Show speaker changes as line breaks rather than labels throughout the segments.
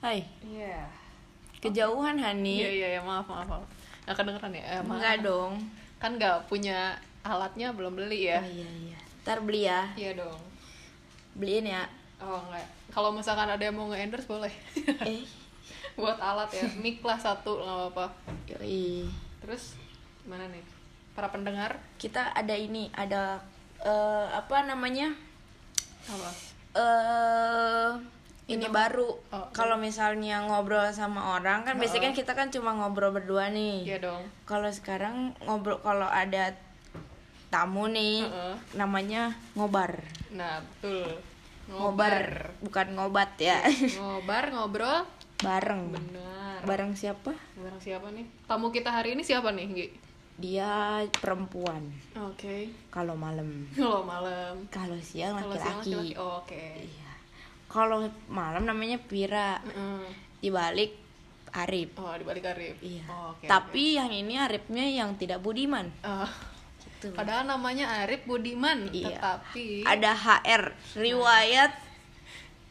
Hai,
Iya.
kejauhan
Iya
Hani.
iya ya, maaf maaf maaf. Nggak kedengeran ya? Eh, maaf.
Enggak dong.
Kan nggak punya alatnya belum beli ya?
Oh, iya iya. Ntar beli ya,
Iya dong.
beliin ya.
Oh enggak. Kalau misalkan ada yang mau nge-endorse boleh.
Eh,
Buat alat ya. Mic lah satu nggak apa-apa.
yoi.
Terus gimana nih? Para pendengar
Kita ada ini, ada eh, apa namanya?
apa?
Eh ini baru.
Oh.
Kalau misalnya ngobrol sama orang kan biasanya kan kita kan cuma ngobrol berdua nih.
Iya dong.
Kalau sekarang ngobrol kalau ada tamu nih,
Heeh.
namanya ngobar.
Nah, betul.
Ngobar, bukan ngobat ya.
Iya. Ngobar, ngobrol.
Bareng.
Benar.
Bareng siapa?
Barang siapa nih? Tamu kita hari ini siapa nih, Gi?
dia perempuan
Oke.
kalau malam
Kalau malam.
kalau siang
Kalau siang
laki-laki
laki-laki. Oh, Oke.
iya kalau malam namanya Pira
Mm-mm.
dibalik Arif
Oh, dibalik Arif.
iya
Oh, oke, oke.
tapi yang ini Arifnya yang tidak budiman
Eh,
gitu.
padahal namanya Arif Budiman,
Iya.
tetapi
ada HR riwayat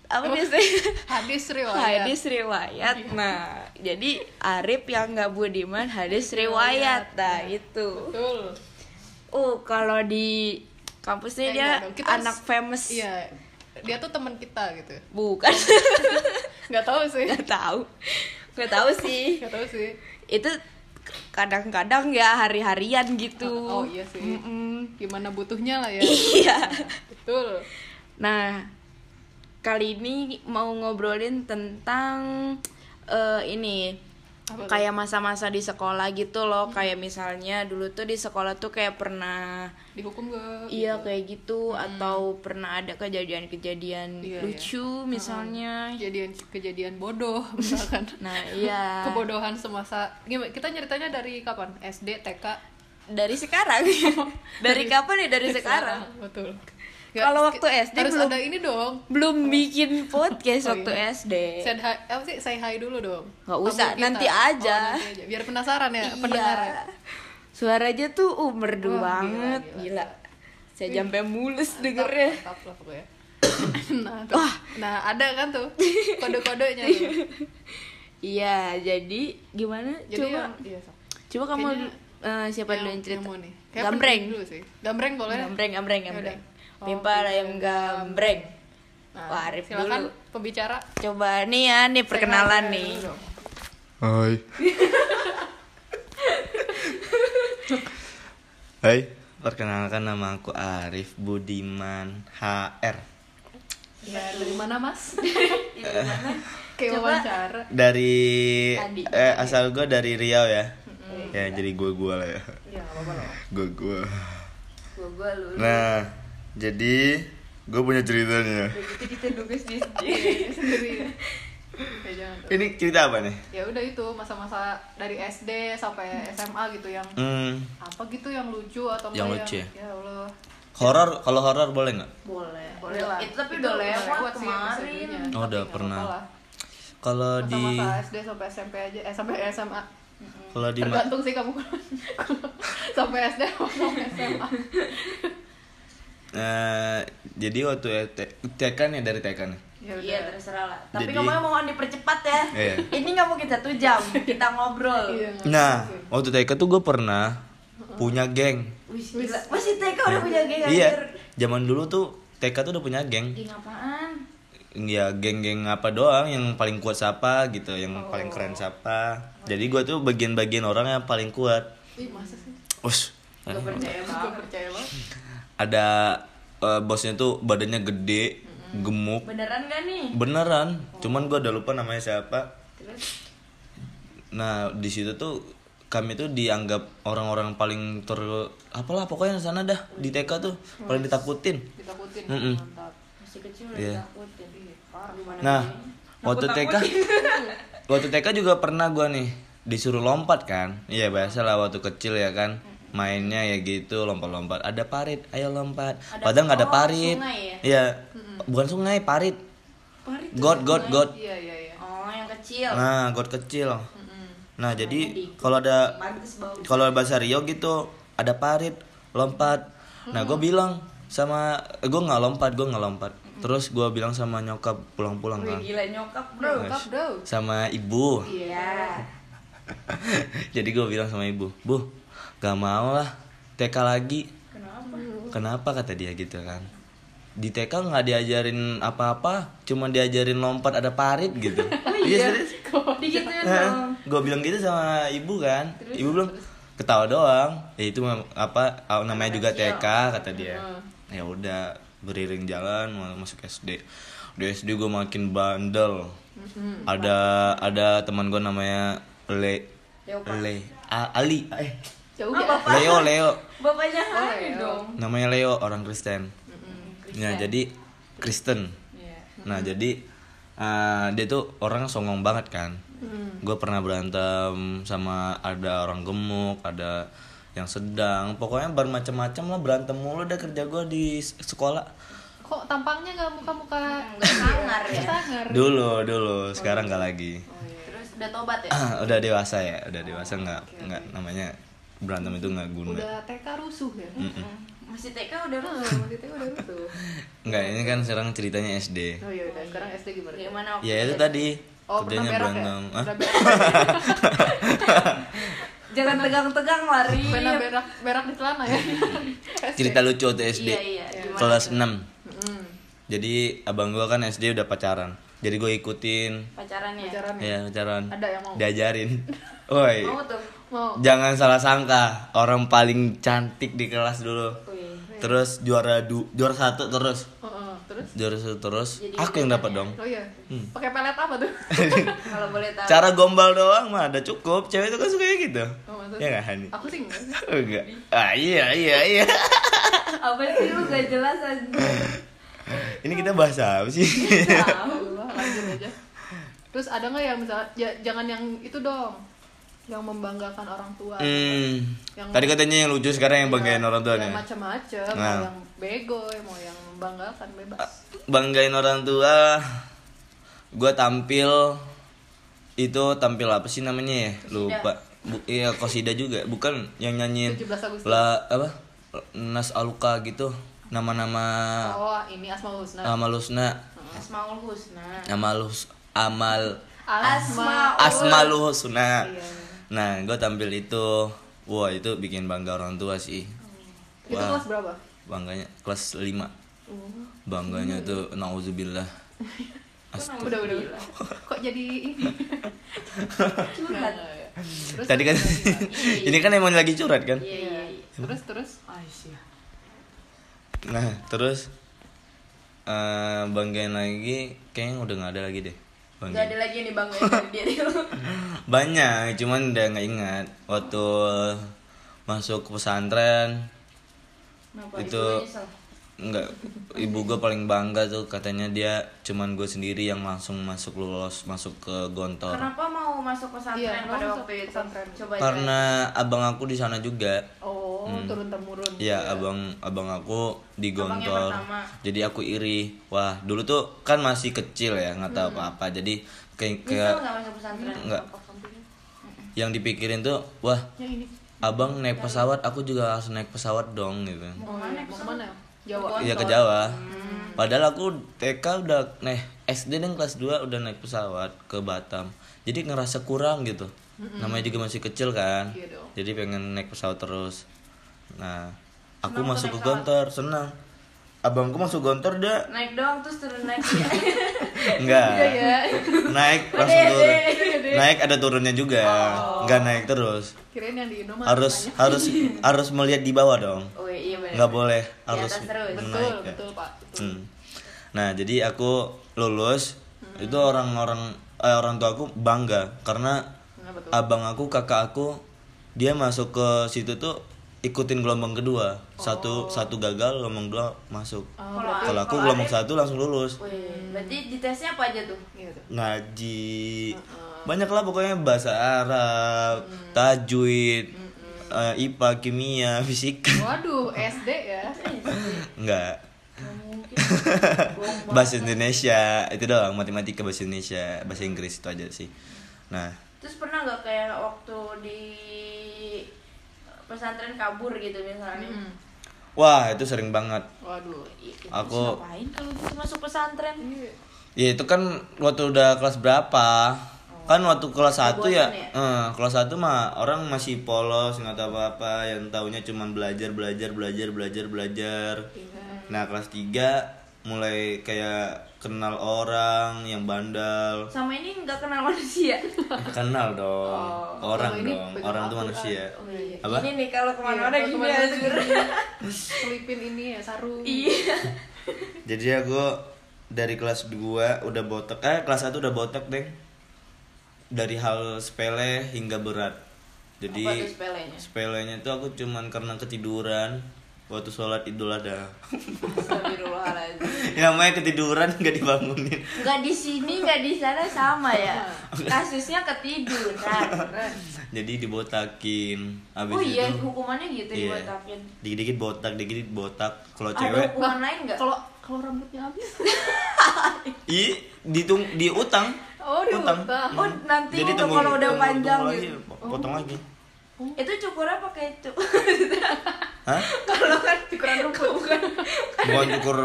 apa biasanya
hadis Oh. riwayat. Iya.
hadis riwayat nah jadi Arif yang nggak budiman hadis riwayat nah
iya.
itu
Betul.
uh kalau di kampusnya
Eh,
dia
enggak dong, kita
anak
harus-
famous
Iya. Dia tuh teman kita gitu.
bukan
Nggak tahu sih.
nggak tahu nggak tahu sih
Nggak tahu sih.
itu kadang-kadang ya hari-harian gitu
Oh, iya sih.
Mm-mm.
Gimana butuhnya lah ya.
iya
Betul.
nah kali ini mau ngobrolin tentang eh, ini
Apa tuh? Hmm.
kayak masa-masa di sekolah gitu loh kayak misalnya dulu tuh di sekolah tuh kayak pernah
Dihukum gak?
Iya kayak gitu atau pernah ada kejadian-kejadian
Hmm. Iya, iya.
lucu misalnya.
Kejadian kejadian bodoh misalkan.
Nah, iya.
Kebodohan semasa. Gimana? Kita ceritanya dari kapan? SD, TK,
Dari sekarang. dari kapan ya dari sekarang?
Betul. Nggak,
Kalau waktu SD
harus
belum
ada ini dong.
belum bikin podcast
Oh,
waktu
iya.
SD.
Say hi, apa sih? Say hi dulu dong.
Nggak
Tamu
usah,
kita.
nanti aja.
Oh, nanti aja. Biar penasaran ya, pendengar ya.
Iya. Suaranya tuh uh, merdu
Wah, gila,
banget,
gila,
gila.
gila.
Saya sampai mulus dengernya.
Mantap, mantap lah pokoknya. nah, tuh. nah, ada kan tuh kode-kodenya tuh.
Iya, jadi gimana?
Jadi
coba
yang iya, Sok.
coba kamu
Kayaknya
eh, siapa
yang,
dulu yang cerita?
yang mau nih. Kayak
Gambreng.
penting dulu sih. Gambreng boleh.
Gambreng, gambreng,
Yaudah.
gambreng.
Oh,
Pimpal ayam gambreng.
Nah,
Wah, Arif
silakan
dulu.
pembicara.
Coba nih ya, nih perkenalan
Say hi
nih.
dulu dong.
Hai. Hai, perkenalkan nama aku Arif Budiman HR
Iya, Dari mana, Mas? Iya, Kayak
Coba.
wawancara.
dari
Tadi.
eh, asal gue dari Riau ya. Ya jadi gue gue lah ya.
Iya, nggak apa-apa loh.
Gue gue.
Gua gua lu.
Nah, jadi gue punya ceritanya.
Begitu kita nugas di
Iya, Sendiri. Ya, jangan.
Ini cerita apa nih?
ya udah itu masa-masa dari SD sampai SMA gitu yang
Hmm,
apa gitu yang lucu atau
Yang
enggak
lucu ya?
ya Allah
horor kalau horor boleh nggak?
Boleh.
boleh lah
Itu tapi udah lewat
sih
kemarin.
episodenya.
Oh,
Tapi
udah
nggak
pernah.
apa-apa lah.
Kalau di
masa-masa SD sampai SMP aja eh sampai SMA
kalau di ma-
tergantung sih kamu sampai SD atau sampai SMA
eh, jadi waktu TK nih dari TK nih.
ya udah
Iya terserah lah. Tapi
Jadi-
ngomongnya mohon dipercepat ya.
Iya.
Ini nggak mungkin satu jam kita ngobrol.
Iya,
Nah, waktu TK tuh gue pernah punya geng.
Wih, gila. Masih TK udah punya geng anjir.
Iya, zaman dulu tuh TK tuh udah punya geng.
Geng apaan?
Ya geng-geng apa doang yang paling kuat siapa gitu, yang paling keren siapa. Jadi gue tuh bagian-bagian orang yang paling kuat.
Ih, masa sih
Us,
Gak percaya
gak
banget.
percaya lo
ada eh, bosnya tuh badannya gede, gemuk.
Beneran gak nih?
Beneran, cuman gue udah lupa namanya siapa.
Terus
Nah, di situ tuh kami tuh dianggap orang-orang paling ter apalah pokoknya sana dah di TK tuh paling ditakutin.
ditakutin
Mm-mm.
mantap
masih kecil udah
Iya.
takutin. Gimana
Nah,
gini?
waktu TK waktu TK juga pernah gua nih disuruh lompat kan. Iya, biasa lah waktu kecil ya kan. Mainnya ya gitu lompat-lompat. Ada parit, ayo lompat. Padahal nggak ada
oh,
parit.
sungai ya?
Iya, bukan sungai, parit.
Parit tuh
God, god, god.
iya iya iya
Oh, yang kecil.
Nah, god kecil. Nah, jadi
di-
kalau ada
Pantes bau.
kalau bahasa Rio gitu ada parit lompat nah gue bilang sama gue nggak lompat gue nggak lompat Terus gua bilang sama nyokap pulang-pulang
Wih,
kan.
gila nyokap
Bro,
bro.
kap bro.
Sama ibu.
Iya.
Jadi gua bilang sama ibu, "Bu, gak mau lah TK lagi."
Kenapa?
Kenapa kata dia gitu kan? Di TK nggak diajarin apa-apa, cuma diajarin lompat ada parit gitu. iya, serius.
Dikit ya dong.
Gue bilang gitu sama ibu kan. ibu bilang ketawa doang. Ya itu mah apa ah, namanya juga TK kata dia. Ya udah beriring jalan mau masuk SD. Di SD gue makin bandel. Ada ada teman gue namanya Le Le A- Ali. Eh,
Jauh ya.
Leo Leo.
Bapaknya Hai
Leo.
dong.
Namanya Leo orang Kristen. Nah, jadi Kristen.
Iya.
Nah jadi eh, dia tuh orang songong banget kan. Gue pernah berantem sama ada orang gemuk, ada yang sedang. Pokoknya bermacam-macam lah berantem mulu dah kerja gue di s- sekolah.
Kok tampangnya nggak muka-muka
Sangar ya.
sangar?
Oh,
Dulu dulu, sekarang nggak lagi.
iya. Terus udah tobat ya? Oh,
udah dewasa ya, udah dewasa nggak nggak namanya berantem itu nggak Hmm. guna.
Udah TK rusuh ya.
Masih TK udah
Ah,
rusuh.
waktu itu udah rusuh.
Nggak ini kan sekarang ceritanya SD.
Oh iya udah sekarang SD gimana?
Gimana?
Ya itu tadi
Oh, pernah
kerjanya Ah,
berak ya?
berantem. Hah?
Pernah berak.
Jangan tegang-tegang lari.
Pernah berak, berak di celana ya.
Iya. Cerita lucu waktu SD.
Iya, iya. Gimana
Kelas 6 Jadi abang gua kan SD udah pacaran. Jadi gue ikutin
Pacarannya.
Pacaran ya?
ya pacaran.
Ada yang mau?
Diajarin. Woi.
Mau tuh.
Mau.
Jangan salah sangka, orang paling cantik di kelas dulu.
Wih.
Terus juara du, juara satu terus.
Oh, oh, terus?
Juara satu terus.
Jadi
Aku yang dapat dong.
Oh iya.
Hmm.
Pakai pelet apa tuh?
Kalau boleh tahu.
Cara gombal doang mah ada cukup. Cewek itu kan sukanya gitu.
Oh, maksudnya? Oh,
ya enggak Hani?
Aku sih enggak.
Enggak. Ah iya iya iya.
Apa sih lu gak jelas aja.
Ini kita bahas apa sih?
Tahu lah, lanjut aja. Terus ada nggak yang misalnya ya, jangan yang itu dong, yang membanggakan orang tua,
hmm.
Yang- Iya,
Tadi katanya yang lucu sekarang yang banggain orang tua
yang
nih. ya?
macam-macam,
Nah.
mau yang bego, mau yang membanggakan bebas.
banggain orang tua gue tampil itu tampil apa sih namanya ya lupa Bu- iya kosida juga bukan yang nyanyiin
17 Agustus.
la apa nas aluka gitu nama-nama
Oh ini Asmaul Husna.
nama
Nah.
lusna
Asmaul Husna.
nama lus amal
Asma.
asmalu husna
Iya,
nah gue tampil itu wah itu bikin bangga orang tua sih
Itu kelas berapa?
bangganya kelas 5 bangganya tuh nauzubillah Astu-
Udah udah. udah. Kok jadi ini?
Curhat.
Nah, ya. Terus
Tadi kan ini kan emang lagi curhat kan?
Iya, iya, iya.
terus terus.
Nah, terus eh banggain lagi kayaknya udah nggak ada lagi deh.
Gak
Banggain.
ada lagi nih bang dari dia nih lu.
Banyak, cuman udah nggak ingat waktu masuk ke pesantren
Kenapa?
itu
Ibu nyesel.
nggak ibu gue paling bangga tuh katanya dia cuman gue sendiri yang langsung masuk lolos masuk ke gontor
Kenapa mau masuk pesantren pada
Iya, mau
waktu
masuk
itu?
pesantren.
Coba jelasin.
karena abang aku di sana juga
Oh turun temurun.
Iya abang abang aku di
Abang yang
Gontor.
pertama.
Jadi aku iri. Wah dulu tuh kan masih kecil ya nggak tahu apa-apa. Jadi
Nyesel
kayak kayak
Hmm. nggak masuk pesantren?
Nggak. yang dipikirin tuh wah
Yang ini.
abang naik pesawat aku juga harus naik pesawat dong gitu.
Oh, iya. Mau kemana? Jawa.
Gontor.
Iya ke Jawa. Padahal aku TK udah naik SD dan kelas 2 udah naik pesawat ke Batam. Jadi ngerasa kurang gitu. Namanya juga masih kecil kan.
Iya dong.
Jadi pengen naik pesawat terus. Nah, aku masuk ke Gontor, senang. Abangku masuk Gontor dah.
Naik doang terus turun naik ya.
Enggak.
Iya.
Naik langsung turun. Naik ada turunnya juga.
Oh.
Enggak naik terus.
Kirain yang di Indomaret.
Harus harus harus melihat di bawah dong.
Oh iya benar.
Nggak boleh
Di
harus
atas terus.
Betul,
naik ya.
betul Pak.
Hmm. Nah, jadi aku lulus itu orang-orang eh, orang tua aku bangga karena
Kenapa tuh?
abang aku, kakak aku dia masuk ke situ tuh ikutin gelombang kedua. Satu satu gagal, gelombang dua masuk.
Kalau
Kalau aku
Oh. kalau
gelombang
Arif-
satu langsung lulus.
Wih, berarti di tesnya apa aja tuh?
Iya tuh.
Ngaji. Banyak lah pokoknya bahasa Arab, tajwid, eh, IPA, kimia, fisika.
Waduh, SD ya.
Enggak. bahasa Indonesia itu doang matematika bahasa Indonesia bahasa Inggris itu aja sih nah
Terus pernah nggak kayak waktu di pesantren kabur gitu misalnya?
Hmm.
Wah, itu sering banget.
Waduh.
I- itu
Aku-
ngapain kalau gitu masuk pesantren
Ini
Ya itu kan waktu udah kelas berapa? Kan waktu kelas 1
bosan
ya,
Oh. ya?
eh, kelas 1 mah orang masih polos, nggak tahu apa-apa, yang taunya cuman belajar, belajar, belajar, belajar, belajar.
Iya.
Nah, kelas 3 mulai kayak kenal orang yang bandel.
sama ini nggak kenal manusia
Kenal dong,
Oh,
orang
kalau ini
dong,
pegang
orang tuh
Al-Quran.
manusia.
Oh, iya.
Apa?
ini nih kalau kemana-mana
Iya,
gini Azur
kemana-mana selipin ini ya sarung.
iya
Jadi aku dari kelas 2 udah botak, eh kelas 1 udah botak, Deng. Dari hal sepele hingga berat. Jadi
Apa tuh sepelenya?
Sepelenya tuh aku cuman karena ketiduran waktu sholat idul adha.
Astagfirullahaladzim.
Yang namanya ketiduran gak dibangunin.
nggak di sini nggak di sana sama ya kasusnya ketiduran
Jadi dibotakin. Abis
oh iya
itu
hukumannya gitu
Iya.
dibotakin
dikit-dikit botak, dikit-dikit botak. Kalau
ada
cewek,
hukuman lain nggak
Kalau kalau rambutnya habis.
i ditung diutang.
Oh, diutang.
Oh, nanti itu
tunggu-
kalau udah
tunggu-
panjang
tunggu
gitu.
lagi, potong lagi.
oh.
itu cukurnya pakai itu
Hah?
kalau kan cukuran rumput bukan
Bukan cukur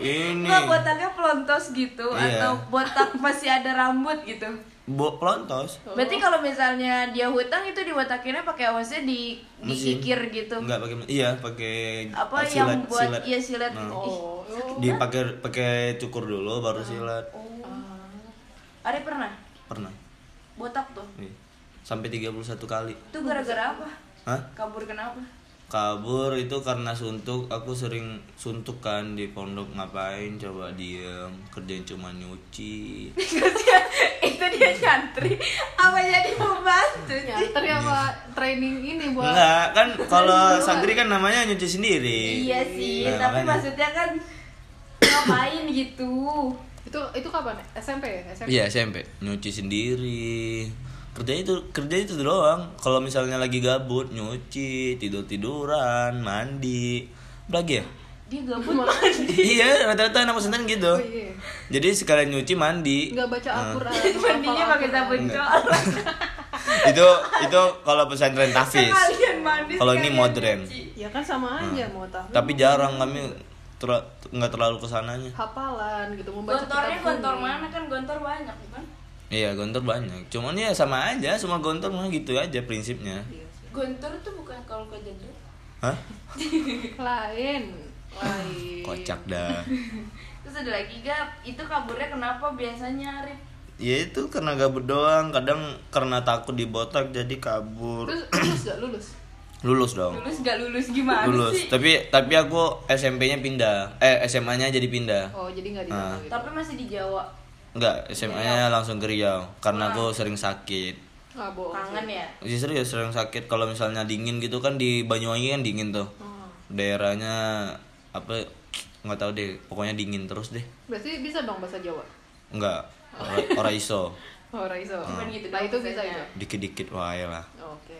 ini.
nggak botaknya pelontos gitu
Iya.
atau botak masih ada rambut gitu
Bo pelontos.
Oh.
berarti kalau misalnya dia hutang itu dibotakinnya pakai awasnya di
Mesin.
diikir gitu
Enggak pakai iya pakai
apa
silat,
yang buat
silat.
iya silat Ih,
Nah.
Oh. oh.
Dia pakai pakai cukur dulu
Nah.
baru silat.
Oh. Ari pernah
Pernah.
botak tuh
Nih. Sampai 31 kali.
itu
Oh,
gara-gara apa
Hah?
kabur kenapa
Kabur itu karena suntuk, aku sering suntuk kan di pondok ngapain coba diem, kerjain cuma nyuci.
itu dia nyantri apa jadi pembantu sih? Iya
Nyantar ya apa training ini buat
Enggak, kan kalau santri kan namanya nyuci sendiri.
iya sih
Nah,
tapi
makanya.
maksudnya kan ngapain gitu
itu itu kapan SMP ya SMP
Iya SMP nyuci sendiri kerjanya itu kerjanya itu doang kalau misalnya lagi gabut nyuci tidur tiduran mandi lagi ya
dia gabut mandi
iya rata-rata anak pesantren gitu
Oh, iya.
jadi sekalian nyuci mandi
nggak baca Al-Quran
mandinya
hafal
pakai sabun
Enggak.
col
itu itu kalau pesantren tafis
Sekalian mandi,
kalau ini
sekalian
modern
nyuci.
Al-Quran. ya kan
Hmm.
sama aja mau tahu
tapi jarang kami ter- nggak terlalu kesananya
hafalan gitu membaca
gontornya
kitab
gontor
kuning.
mana kan gontor banyak bukan
iya gontor banyak cuman ya sama aja semua gontor mah gitu aja prinsipnya
Iya. gontor tuh bukan kalau ke jendela
hah
lain lain
kocak dah
terus ada lagi gap itu kaburnya kenapa biasanya Arif
Ya itu karena gabut doang, kadang karena takut dibotak jadi kabur.
terus lulus gak lulus
Lulus dong.
lulus gak lulus gimana
Lulus.
sih
Tapi tapi aku SMP-nya pindah. Eh SMA-nya jadi pindah.
oh jadi nggak di
Ah.
gitu
tapi masih di Jawa
Enggak, SMA-nya langsung ke Riau karena aku sering sakit.
ah bohong
kangen ya
Ya, Serius sering sakit kalau misalnya dingin gitu kan di Banyuwangi kan dingin tuh.
Ah.
Daerahnya apa nggak tahu deh, pokoknya dingin terus deh.
berarti bisa dong bahasa Jawa
Enggak. ora- Ora iso.
oh Raiso
Cuman gitu
nah
doang
itu bisa
bisanya.
ya
Dikit-dikit wae lah.
oke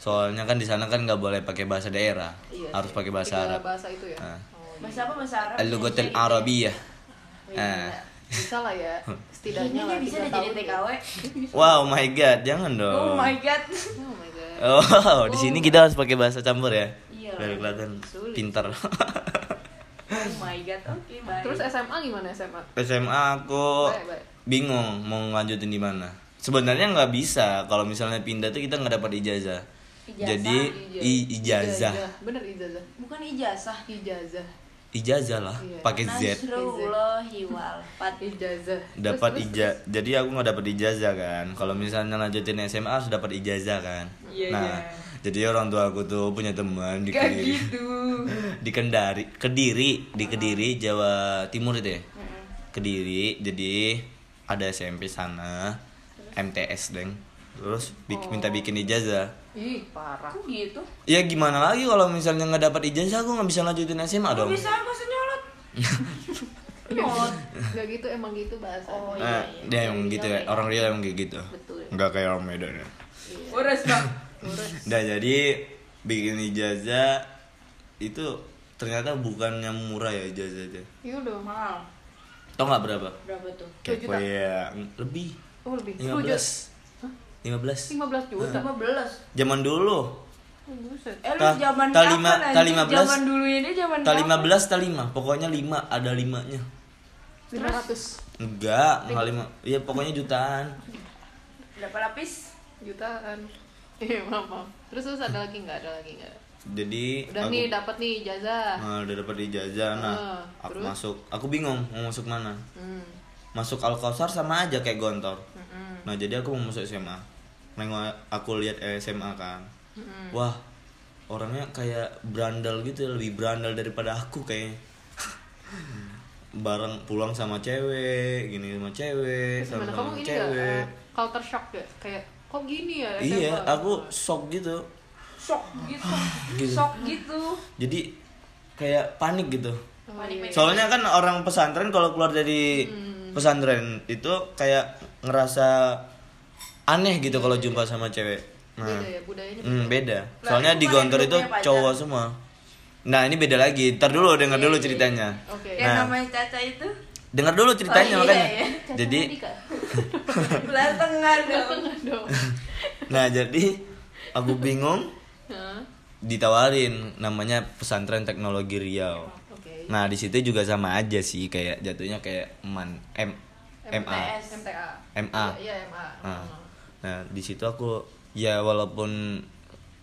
Soalnya kan di sana kan nggak boleh pakai bahasa daerah.
Iya
harus
sih.
pakai bahasa
Tiga
Arab.
bahasa itu ya
Ah.
Oh, iya.
bahasa apa bahasa Arab
Al-lughatul
Indonesia gitu ya?
Arabiyah.
Oh, iya.
Ah.
bisa lah ya
Kayaknya
setidaknya
dia
lah
bisa
tiga
deh jadi
tahun ya.
TKW
Wow, my god, jangan
oh
dong.
my god
oh my god
Oh, di sini kita harus pakai bahasa campur ya.
Iya.
Biar kelihatan
Sulit.
pintar.
oh my god oke
Eh.
baik
terus SMA gimana SMA
SMA aku
Baik, baik.
bingung mau lanjutin di mana. Sebenarnya nggak bisa kalau misalnya pindah tuh kita nggak dapat ijazah.
Ijazah,
Jadi i- ijazah.
bener ijazah
bukan ijazah
ijazah
Ijazah lah,
Iya.
pakai Z.
Nasrullahi wal Fath.
ijazah
dapat
Terus,
ija jadi aku nggak dapat ijazah kan kalau misalnya lanjutin SMA harus dapat ijazah kan
Iya,
nah
iya.
jadi orang tua aku tuh punya teman di
Gak
kediri
gitu
di kendari kediri di kediri Jawa Timur itu ya kediri jadi ada SMP sana MTS deng terus bik-
Oh.
minta bikin ijazah
ih parah
aku gitu
ya gimana lagi kalau misalnya nggak dapat ijazah aku nggak bisa lanjutin SMA
Kok
dong Eh,
bisa bahasa nyolot nyolot
nggak gitu emang gitu bahasa
oh
Eh,
iya iya Iya.
dia emang gitu ya orang Riau emang kayak gitu
Betul.
nggak kayak orang Medan ya
Boros bang
Nah jadi bikin ijazah itu ternyata bukannya murah ya ijazahnya.
iya udah
mahal
Tau nggak berapa?
berapa tuh
Kayak
juta?
kayak lebih
oh lebih
15 15
15 juta Oh,
15
Zaman dulu
Buset.
Eh lu
Ta-
zaman
ta
kapan
lima-
anjir?
ta lima belas.
Zaman dulu ini zaman
Ta
kapan?
15, ta 5. Pokoknya 5, ada limanya.
500
Enggak, mahal 5. Iya, pokoknya jutaan.
Berapa lapis?
jutaan. Iya, maaf, maaf. Terus terus ada lagi nggak? Ada lagi nggak?
Jadi
Udah
aku
nih dapat nih ijazah.
Nah, udah dapat ijazah. Nah,
Ah,
aku
terus?
masuk. Aku bingung mau masuk mana.
Hmm.
Masuk Al-Kausar sama aja kayak Gontor. Nah, jadi aku mau masuk SMA. Nengok aku lihat SMA kan.
Hmm.
Wah, orangnya kayak berandal gitu, lebih berandal daripada aku kayaknya.
Hmm.
Bareng pulang sama cewek, gini sama cewek,
Terus gimana?
sama,
Kamu
sama
ini nggak
cewek.
eh, culture shock ya? Kayak kok gini ya? SMA?
iya, aku shock gitu.
Shock gitu.
Gitu.
Shock gitu.
Jadi kayak panik gitu.
Oh, iya.
Soalnya kan orang pesantren kalau keluar dari
Hmm.
pesantren itu kayak ngerasa aneh gitu kalau jumpa sama cewek. Nah,
Beda ya budayanya.
hmm, beda.
Lah,
Soalnya
itu
di
kan
Gontor
yang
itu
grupnya
cowok semua. Nah, ini beda lagi. Ntar dulu denger dulu ceritanya.
Oke.
Iya, Yang
Nah.
namanya Caca itu
Denger dulu ceritanya
Oh, iya,
makanya.
iya.
Jadi
belah tengah dong.
Aduh.
nah jadi aku bingung
Hah?
ditawarin namanya pesantren teknologi Riau.
Oke.
Nah, di situ juga sama aja sih kayak jatuhnya kayak man M MA.
MTS.
MTA.
MA.
Iya, iya, MA.
Nah, nah, di situ aku ya walaupun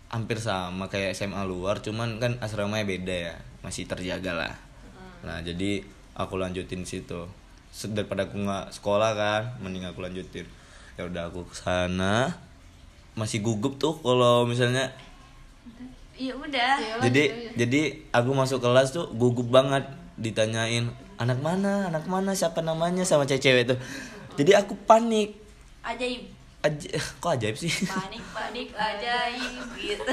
hampir sama kayak SMA luar, cuman kan asramanya beda ya, masih terjaga lah. Nah jadi aku lanjutin situ. Se- Daripada aku nggak sekolah kan, mending aku lanjutin. Ya udah aku kesana, masih gugup tuh kalau misalnya.
Ya udah.
Iya,
jadi
lanjut aja.
jadi aku masuk kelas tuh gugup banget ditanyain anak mana, anak mana, siapa namanya sama cewek-cewek tuh. Jadi aku panik.
Ajaib.
Aj- kok ajaib sih?
Panik, panik, ajaib gitu.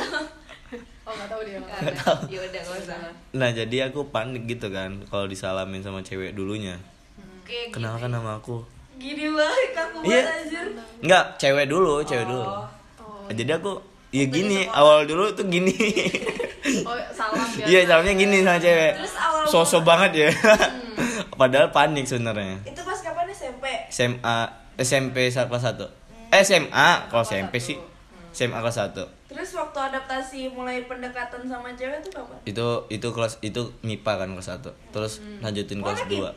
Oh, nggak tahu dia. nggak tahu.
Ya udah gak usah.
Nah jadi aku panik gitu kan kalau disalamin sama cewek dulunya.
Oke, gini.
Kenalkan nama aku.
Gini banget kaku
Iya.
banget anjir.
Enggak, cewek dulu, cewek dulu.
Oh.
Jadi aku ya gini, awal dulu tuh gini.
Oh, salam ya.
Iya, salamnya gini sama cewek.
Terus awal
Sosok banget ya. Padahal panik sebenarnya.
Itu pas kapan SMP?
SMA SMP sa- kelas 1. Eh, SMA kalau SMP sih. SMA kelas 1.
Terus waktu adaptasi mulai pendekatan sama cewek tuh kapan?
Itu itu kelas itu MIPA kan kelas 1. Terus lanjutin
Oh,
kelas
anak
2.
IPA.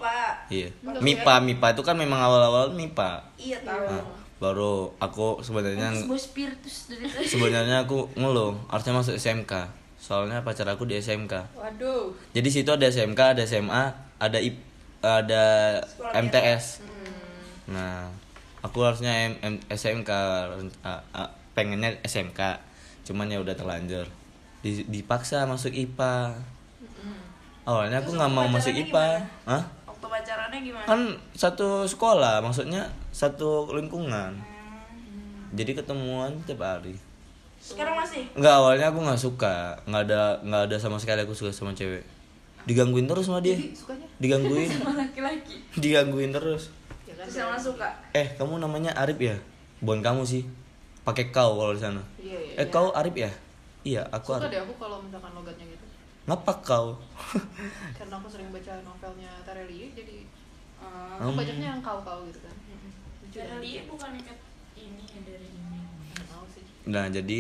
Iya.
Enggak,
MIPA, MIPA itu kan memang awal-awal MIPA.
Iya tahu.
Nah, baru aku sebenarnya
Terus bos spiritus dari tadi.
sebenarnya aku ngeluh harusnya masuk SMK soalnya pacar aku di SMK
Waduh.
jadi situ ada SMK ada SMA ada IP, ada
Sekolah Hmm.
MTS nah aku harusnya M- M- SMK ren- a- a- pengennya SMK cuman ya udah terlanjur Di- dipaksa masuk IPA awalnya
Hmm.
aku
Terus
nggak mau
pacarannya
masuk IPA
gimana?
Hah?
Waktu pacarannya gimana?
kan satu sekolah maksudnya satu lingkungan jadi ketemuan tiap hari
Iya.
Sekarang masih?
Enggak awalnya aku nggak suka, nggak ada nggak ada sama sekali aku suka sama cewek. Digangguin terus sama dia.
Jadi sukanya
Digangguin,
Sama laki-laki.
digangguin terus.
ya kan.
Terus sama suka.
Eh kamu namanya Arif ya? Bukan kamu sih. Pakai kau kalau di sana.
Iya, iya.
Eh
iya.
kau Arif ya? Iya aku
Suka
Arif.
deh aku kalau misalkan logatnya gitu.
Ngapa kau?
Karena aku sering baca novelnya Tareli jadi
Oh.
aku
Hmm.
banyaknya yang kau-kau gitu kan. Lucu dah.
Dari bukan ikat ini ya dari ini.
Nggak mau sih.
Nah jadi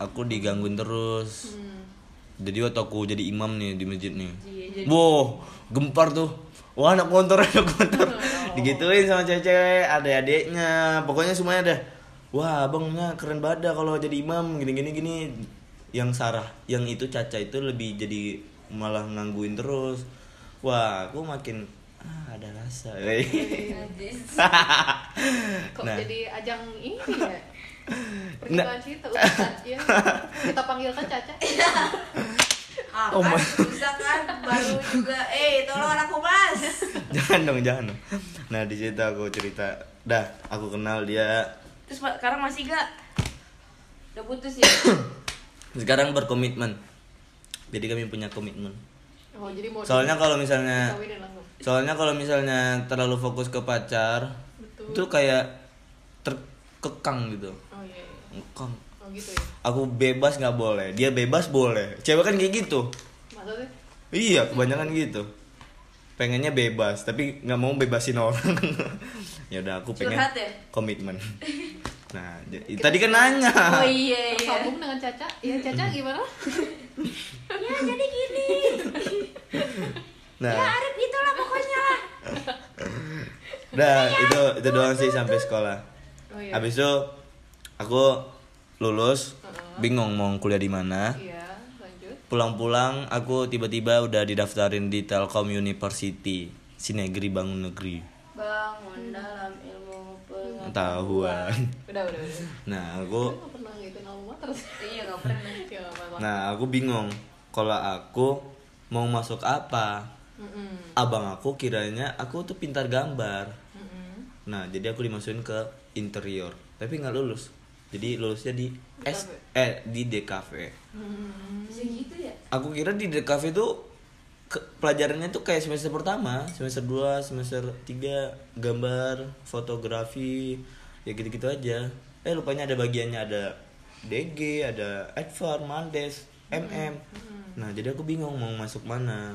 aku digangguin terus.
Hmm.
Jadi waktu aku jadi imam nih di masjid nih.
Iya,
Wow, gempar tuh. Wah anak motor, anak motor. Digituin sama cewek-cewek, adik-adiknya. Pokoknya semuanya ada. Wah abangnya keren banget dah kalau jadi imam gini-gini gini. Yang Sarah, yang itu Caca itu lebih jadi malah ngangguin terus. Wah aku makin ah, ada rasa.
Najis.
Kok
Nah.
jadi ajang ini ya?
Nah.
Percintaan cerita Ustaz, ya. Kita panggilkan Caca.
Ah,
Oh
kan,
my-
bisa kan baru juga eh tolong aku mas
jangan dong, jangan. dong. Nah di situ aku cerita. Dah, aku kenal dia.
terus Pak, sekarang masih gak udah putus ya
Sekarang berkomitmen. Jadi kami punya komitmen.
Oh, jadi mau
Soalnya kalau misalnya
Iya,
dikawinin langsung.
soalnya kalau misalnya terlalu fokus ke pacar
Gitu.
Betul.
itu kayak terkekang gitu
Oh iya. iya.
Kekang.
Oh gitu ya.
aku bebas nggak boleh dia bebas boleh cewek kan kayak gitu
Maksudnya
iya kebanyakan gitu pengennya bebas tapi nggak mau bebasin orang ya udah aku pengen
Curhat ya?
komitmen Nah, j- tadi kan nanya.
Oh iya iya.
Tersambung dengan Caca. Iya, Caca gimana?
Ya jadi gini.
Nah,
Ya Arif itulah pokoknya lah.
udah
Iya,
itu itu doang sih sampai sekolah.
Oh iya.
Habis itu aku lulus, bingung mau kuliah di mana.
Iya, lanjut.
Pulang-pulang aku tiba-tiba udah didaftarin di Telkom University, Sinegri Bangun Negeri.
Bangun dalam ilmu
Iya.
pengetahuan.
Tahuan.
Udah, udah, udah.
Nah, aku
Gak pernah ngikutin alma terus.
Iya gak pernah.
Ya, gak apa-apa.
Nah, aku bingung kalau aku mau masuk apa.
Mm-mm.
Abang aku kiranya aku tuh pintar gambar.
Mm-mm.
Nah, jadi aku dimasukin ke interior, tapi nggak lulus. Jadi lulusnya di S eh di DKV.
Bisa gitu ya.
Aku kira di DKV tuh ke- pelajarannya tuh kayak semester pertama, semester 2, semester 3 gambar, fotografi, ya gitu-gitu aja. Eh lupanya ada bagiannya ada DG, ada Advar, Mandes, MM. Nah, jadi aku bingung mau masuk mana.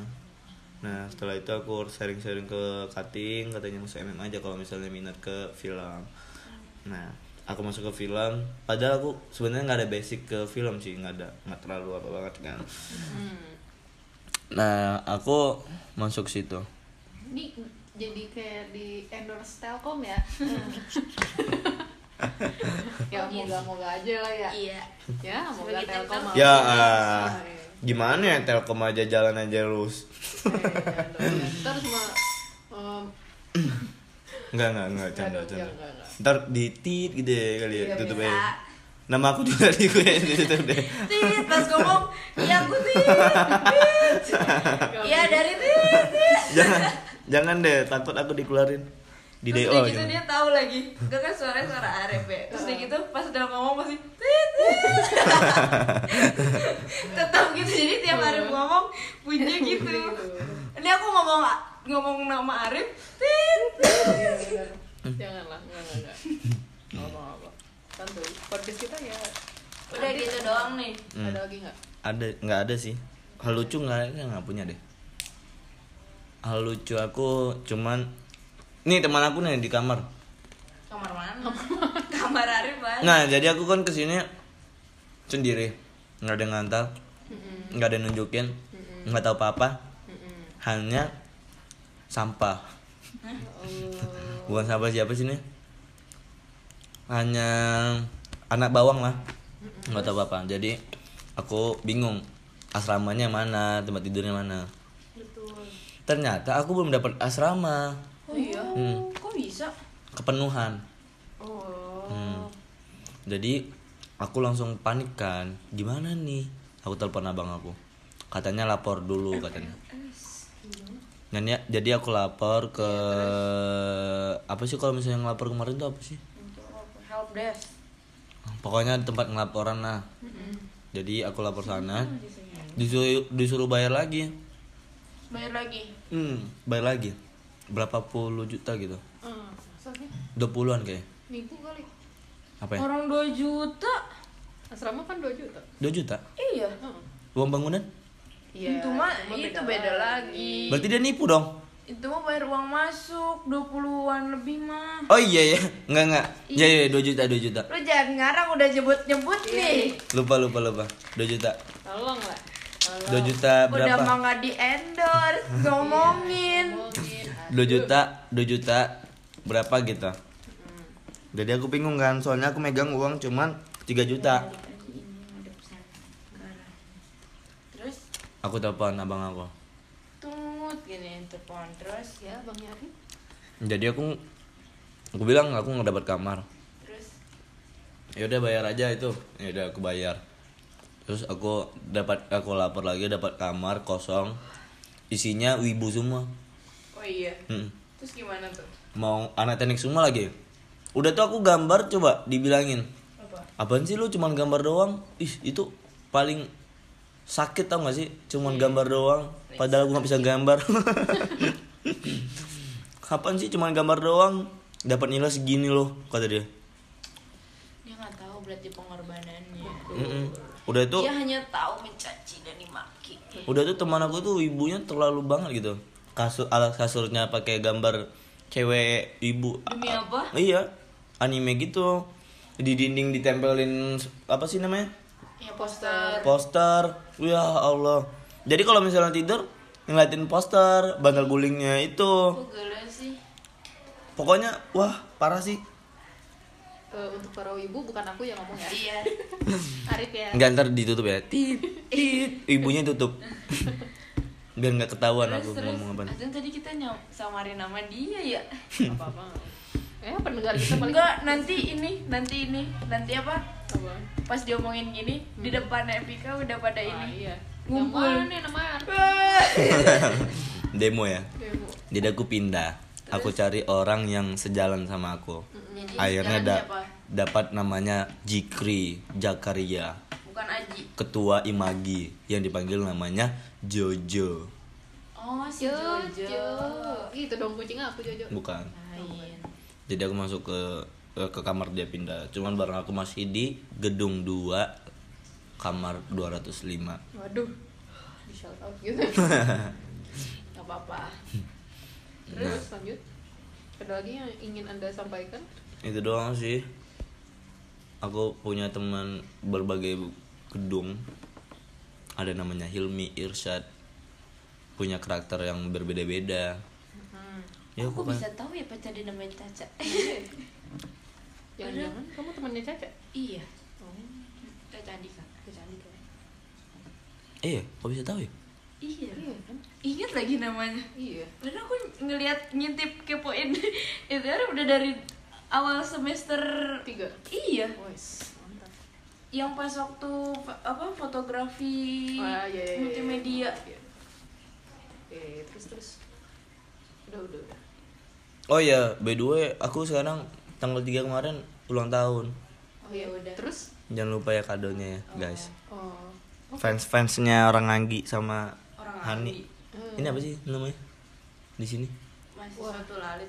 Nah, setelah itu aku sharing-sharing ke Kating, katanya masuk MM aja kalau misalnya minat ke film. Nah, aku masuk ke film, padahal aku sebenarnya nggak ada basic ke film sih, nggak ada, nggak terlalu apa banget kan. Nah, aku masuk situ.
Ini jadi kayak di endorse Telkom ya.
Mm.
ya moga-moga aja lah ya.
Iya.
Ya, moga
Sebagai
Telkom.
Telkom.
mau.
Ya,
Eh,
ah, gimana ya Telkom aja jalan aja terus.
jangan dong, ya. Ntar semua em,
Enggak, enggak, enggak, canda,
Aduh,
canda.
eh, enggak, enggak.
Ntar ditit gitu ya kali ya,
Iya,
tutup
ya bisa.
aja. Nama aku juga di gue ditutup deh.
Tit pas ngomong, iya aku tit. Iya dari tit.
Jangan, jangan deh, takut aku dikeluarin di DO
Terus udah gitu
gitu.
dia tahu lagi. Gue kan suaranya suara Arif ya. Terus udah gitu pas udah ngomong masih tit. tit. Tetap gitu jadi tiap Arif ngomong bunyi gitu. Ini aku ngomong ngomong nama Arif. Tit.
Jangan. Janganlah, enggak enggak enggak. Enggak apa-apa. Kan Santuy. Podcast kita ya.
Udah gitu doang nih.
Hmm.
Ada lagi enggak?
Ada, nggak ada sih. Hal lucu nggak, nggak nggak punya deh. Hal lucu aku cuman, nih teman aku nih di kamar.
Kamar mana? Kamar Arif banget.
Nah, jadi aku kan kesini sendiri, nggak ada yang ngantar, nggak ada yang nunjukin, nggak tahu apa-apa, hanya sampah. Bukan sampah siapa sih ini? Hanya anak bawang lah, nggak tahu apa-apa. Jadi aku bingung asramanya mana, tempat tidurnya mana. Ternyata aku belum dapat asrama,
Oh iya.
Hmm.
Kok bisa?
kepenuhan.
Oh.
Hmm. Jadi aku langsung panik kan. Gimana nih? Aku telepon abang aku. Katanya lapor dulu katanya. Dan ya, jadi aku lapor ke apa sih kalau misalnya yang lapor kemarin tuh apa sih?
Help desk.
Pokoknya tempat ngelaporan lah. Jadi aku lapor sana.
kan
Disuruh disuruh bayar lagi.
Bayar lagi.
Hmm, bayar lagi. Berapa puluh juta gitu.
Eh, soalnya
20-an kayaknya.
minggu kali.
Apa ya?
Orang 2 juta.
Asrama kan 2 juta.
2 juta.
Iya.
Heeh.
Uang bangunan?
Iya.
itu mah
cuma
itu beda lagi.
Berarti dia nipu dong.
Itu mah bayar uang masuk 20-an lebih mah.
Oh iya ya, enggak enggak. Iya iya 2 juta 2 juta.
Lu jangan ngarang udah nyebut-nyebut nih.
Lupa lupa lupa. 2 juta.
Tolong lah.
2 juta
Udah
berapa?
mah nggak di endorse, ngomongin.
Ngomongin.
2 juta, 2 juta berapa gitu. Jadi aku bingung kan, soalnya aku megang uang cuman 3 juta.
Terus
Aku telepon abang aku.
tut gini telepon terus
Ya, Bang Yari.
Jadi aku aku bilang aku nggak dapat kamar.
terus
Ya udah bayar aja itu. Ya udah aku bayar. Terus aku dapat aku lapor lagi dapat kamar kosong. Isinya wibu semua.
oh iya
Mm-mm.
terus gimana tuh
mau anak teknik semua lagi udah tuh aku gambar coba dibilangin
apa
apaan sih lu cuman gambar doang ih itu paling sakit tau gak sih
Iya.
cuman gambar doang padahal aku nggak bisa gambar kapan sih cuman gambar doang dapat nilai segini loh kata dia
dia nggak tahu berarti pengorbanannya
Mm-mm. udah tuh
dia hanya tahu mencaci dan dimaki
udah tuh teman aku tuh ibunya terlalu banget gitu kasur alas kasurnya pakai gambar cewek ibu
Demi apa?
iya anime gitu di dinding ditempelin apa sih namanya
ya poster
poster ya Allah jadi kalau misalnya tidur ngeliatin poster bantal gulingnya itu
Kok gila sih
pokoknya wah parah sih
Eh, untuk para ibu bukan aku yang ngomong ya
iya Arif ya
nggak ntar ditutup ya tit tit ibunya tutup biar nggak ketahuan aku ngomong apa
Azan tadi kita nyam samarin nama dia ya
apa apa eh pendengar kita paling
enggak nah. nanti ini nanti ini nanti apa
Apa?
pas diomongin gini di depan Epika udah pada
Ah,
ini
iya
Ngumpul.
yang mana nih namanya
Ah, iya.
demo ya
Oke, Bu.
jadi aku pindah aku cari orang yang sejalan sama aku
Jadi
akhirnya
sekarang
da-
siapa?
dapat namanya Jikri Jakaria
bukan Aji
ketua Imagi yang dipanggil namanya Jojo
oh si
Jojo
Jojo
itu dong kucing aku Jojo
bukan
Lain.
jadi aku masuk ke eh, ke kamar dia pindah cuman barang aku masih di gedung 2 kamar 205
waduh di shout out gitu nggak apa apa
Nah.
terus lanjut ada lagi yang ingin anda sampaikan
itu doang sih aku punya teman berbagai gedung ada namanya Hilmi Irsyad punya karakter yang berbeda-beda ya
Aku
aku kan-
bisa tahu ya pacar dia namanya Caca. Eh,
jangan jangan kamu temannya Caca
iya,
oh
Caca Andika.
Caca Andika
eh kok bisa tahu ya
Iya.
iya kan
Ingat lagi namanya.
iya
Padahal aku ngelihat ngintip kepoin itu kan udah dari awal semester
tiga
Iya,
Wes, mantap.
yang pas waktu fa- apa fotografi
Wah, iya, iya, iya.
multimedia.
Iya. Iya, iya, terus terus. Udah, udah, udah.
oh ya by the way aku sekarang tanggal 3 kemarin ulang tahun
Oh ya udah.
iya. Terus?
jangan lupa ya kadonya ya guys
Oh.
fans fansnya orang Anggi sama
Orang
Anggi.
Hani ini apa sih namanya di sini
Masih
Wah.
suatu lalit.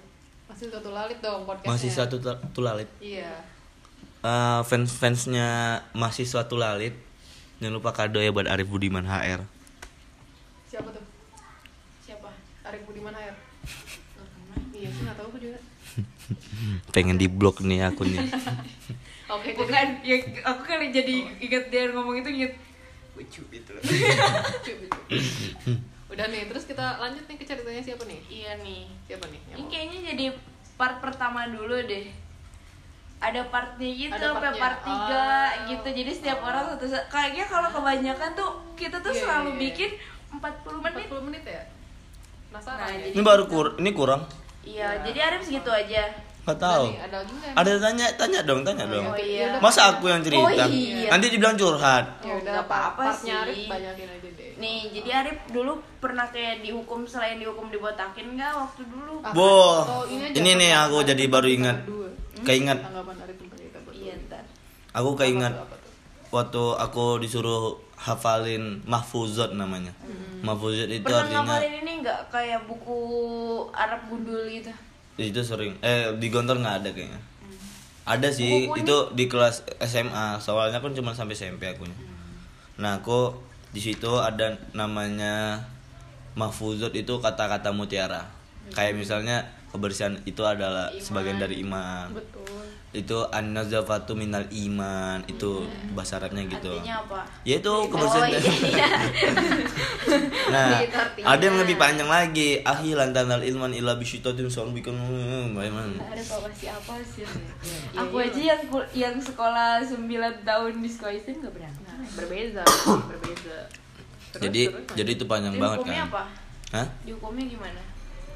Masih satu lalit dong podcastnya.
masih satu tulalit
Iya.
Eh, fans-fansnya mahasiswa Tulalit jangan lupa kado ya buat Arif Budiman HR
Siapa tuh?
Siapa?
Arif Budiman Air.
Nggak pernah.
Iya, aku nggak tahu aku juga.
pengen di blok nih akunnya
Oke, jadi
Bukan, ya aku kali jadi ingat dia ngomong itu ingat lucu gitu loh.
lucu, lucu. gitu. Udah nih, terus kita lanjut nih ke ceritanya siapa nih?
iya nih.
Siapa nih? yang
Ini
mau?
kayaknya jadi part pertama dulu deh. Ada partnya gitu
Ada
sampai
partnya.
part 3
Oh.
gitu. Jadi setiap
Oh.
orang satu kayaknya kalau kebanyakan tuh kita tuh
Iya,
selalu
iya, iya.
bikin 40 menit.
40 menit ya? Penasaran
Nah,
ya?
jadi-
ini baru kur ini kurang
Iya,
Iya.
jadi Arif segitu aja.
nggak
Udah
tahu
nih, ada lagi nggak?
ada tanya tanya dong tanya dong
Oh iya.
masa aku yang cerita
Oh iya.
nanti dibilang curhat
Ya
Oh,
udah,
nggak apa-apa
partnya
sih.
Arif banyakin aja deh.
Nih, jadi Arif dulu pernah kayak dihukum selain dihukum dibotakin nggak waktu dulu?
Ah,
Boh,
atau aja,
ini nih
tanggapan
aku
Arif
jadi baru
tentang
ingat.
kita berdua.
keinget
Tanggapan Arif tentang kita berdua.
Iya, ntar.
aku keinget
Apa tuh, apa tuh?
waktu aku disuruh hafalin mahfuzot namanya mahfuzot itu
Pernah
artinya
ngapalin ini nggak kayak buku Arab gundul gitu?
itu sering eh di Gontor nggak ada kayaknya ada sih itu di kelas SMA soalnya kan cuma sampai SMP akunya nah aku di situ ada namanya mahfuzot itu kata-kata mutiara kayak misalnya kebersihan itu adalah sebagian dari iman
Betul.
itu an-nazafatu minal iman itu bahasa Arabnya gitu
Artinya apa?
ya itu kebersihan
Oh, iya.
Nah,
Gitu artinya.
ada yang lebih panjang lagi. Ahilan tanal ilman illa bisyitatin saun bikin bagaimana?
Ada kok masih apa sih? Aku aja yang kul- yang sekolah 9 tahun di sekolah Islam gak berangkat.
Nah, berbeza, berbeza. Terus,
Jadi
terus,
jadi itu panjang banget
Dihukumnya
kan.
apa?
Hah?
Dihukumnya gimana?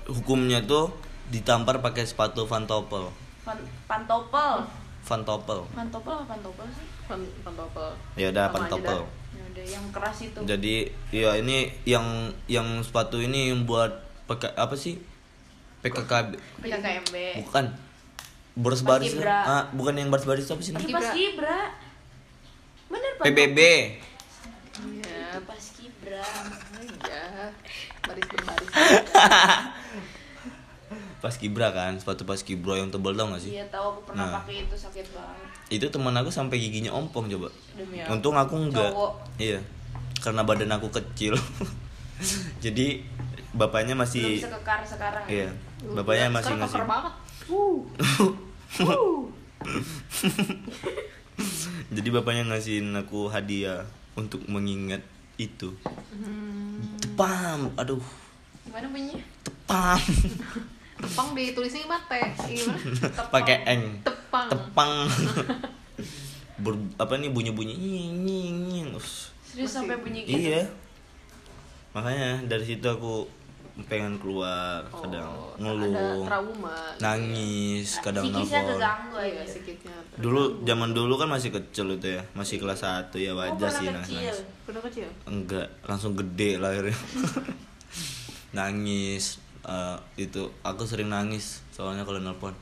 Hukumnya tuh ditampar pakai sepatu Van Topel.
Pan pantopel.
Van Topel.
Pantopel apa pantopel sih?
Pan- pantopel.
Ya udah
Sama
Van
aja
Topel.
dah.
Ya udah yang keras itu.
Jadi ya ini yang yang sepatu ini yang buat pakai apa sih? PKKB
Iya.
PKKMB.
bukan baris-baris
Paskibra.
ah, bukan yang baris-baris apa sih namanya?
Pas Gibra. Bener Pak.
PBB
Iya,
Itu pas Gibra.
iya. Baris berbaris.
Paskibra kan sepatu Paskibra yang tebal tau gak sih?
Iya tahu aku pernah
Nah.
pakai itu sakit banget.
itu teman aku sampai giginya ompong coba
Demi apa?
untung aku enggak
Cowok.
iya karena badan aku kecil jadi bapaknya
Belum
masih
sekekar sekarang. ya?
iya bapaknya masih
Sekarang
ngasih
keker banget.
Jadi bapaknya ngasihin aku hadiah untuk mengingat itu.
Hmm.
Tepam, aduh,
Gimana bunyinya?
tepam.
Tepang ditulisnya gimana? T? Gimana? Iya, Tepang.
Pakai eng.
Tepang.
Tepang. Ber, apa nih bunyi-bunyi nying nying nying. Uff.
Serius sampai bunyi gitu.
Iya. Makanya dari situ aku pengen keluar kadang
Oh, Ada
ngeluh,
trauma. gitu
nangis, kadang
Psikisnya
nelfon.
keganggu
ya. Iya,
aja.
sedikitnya.
Dulu zaman dulu kan masih kecil itu ya, masih kelas 1 ya
Oh,
wajar
pernah
sih nangis.
kecil.
Pernah kecil?
Enggak, langsung gede lahirnya. nangis eh, itu aku sering nangis soalnya kalau nelpon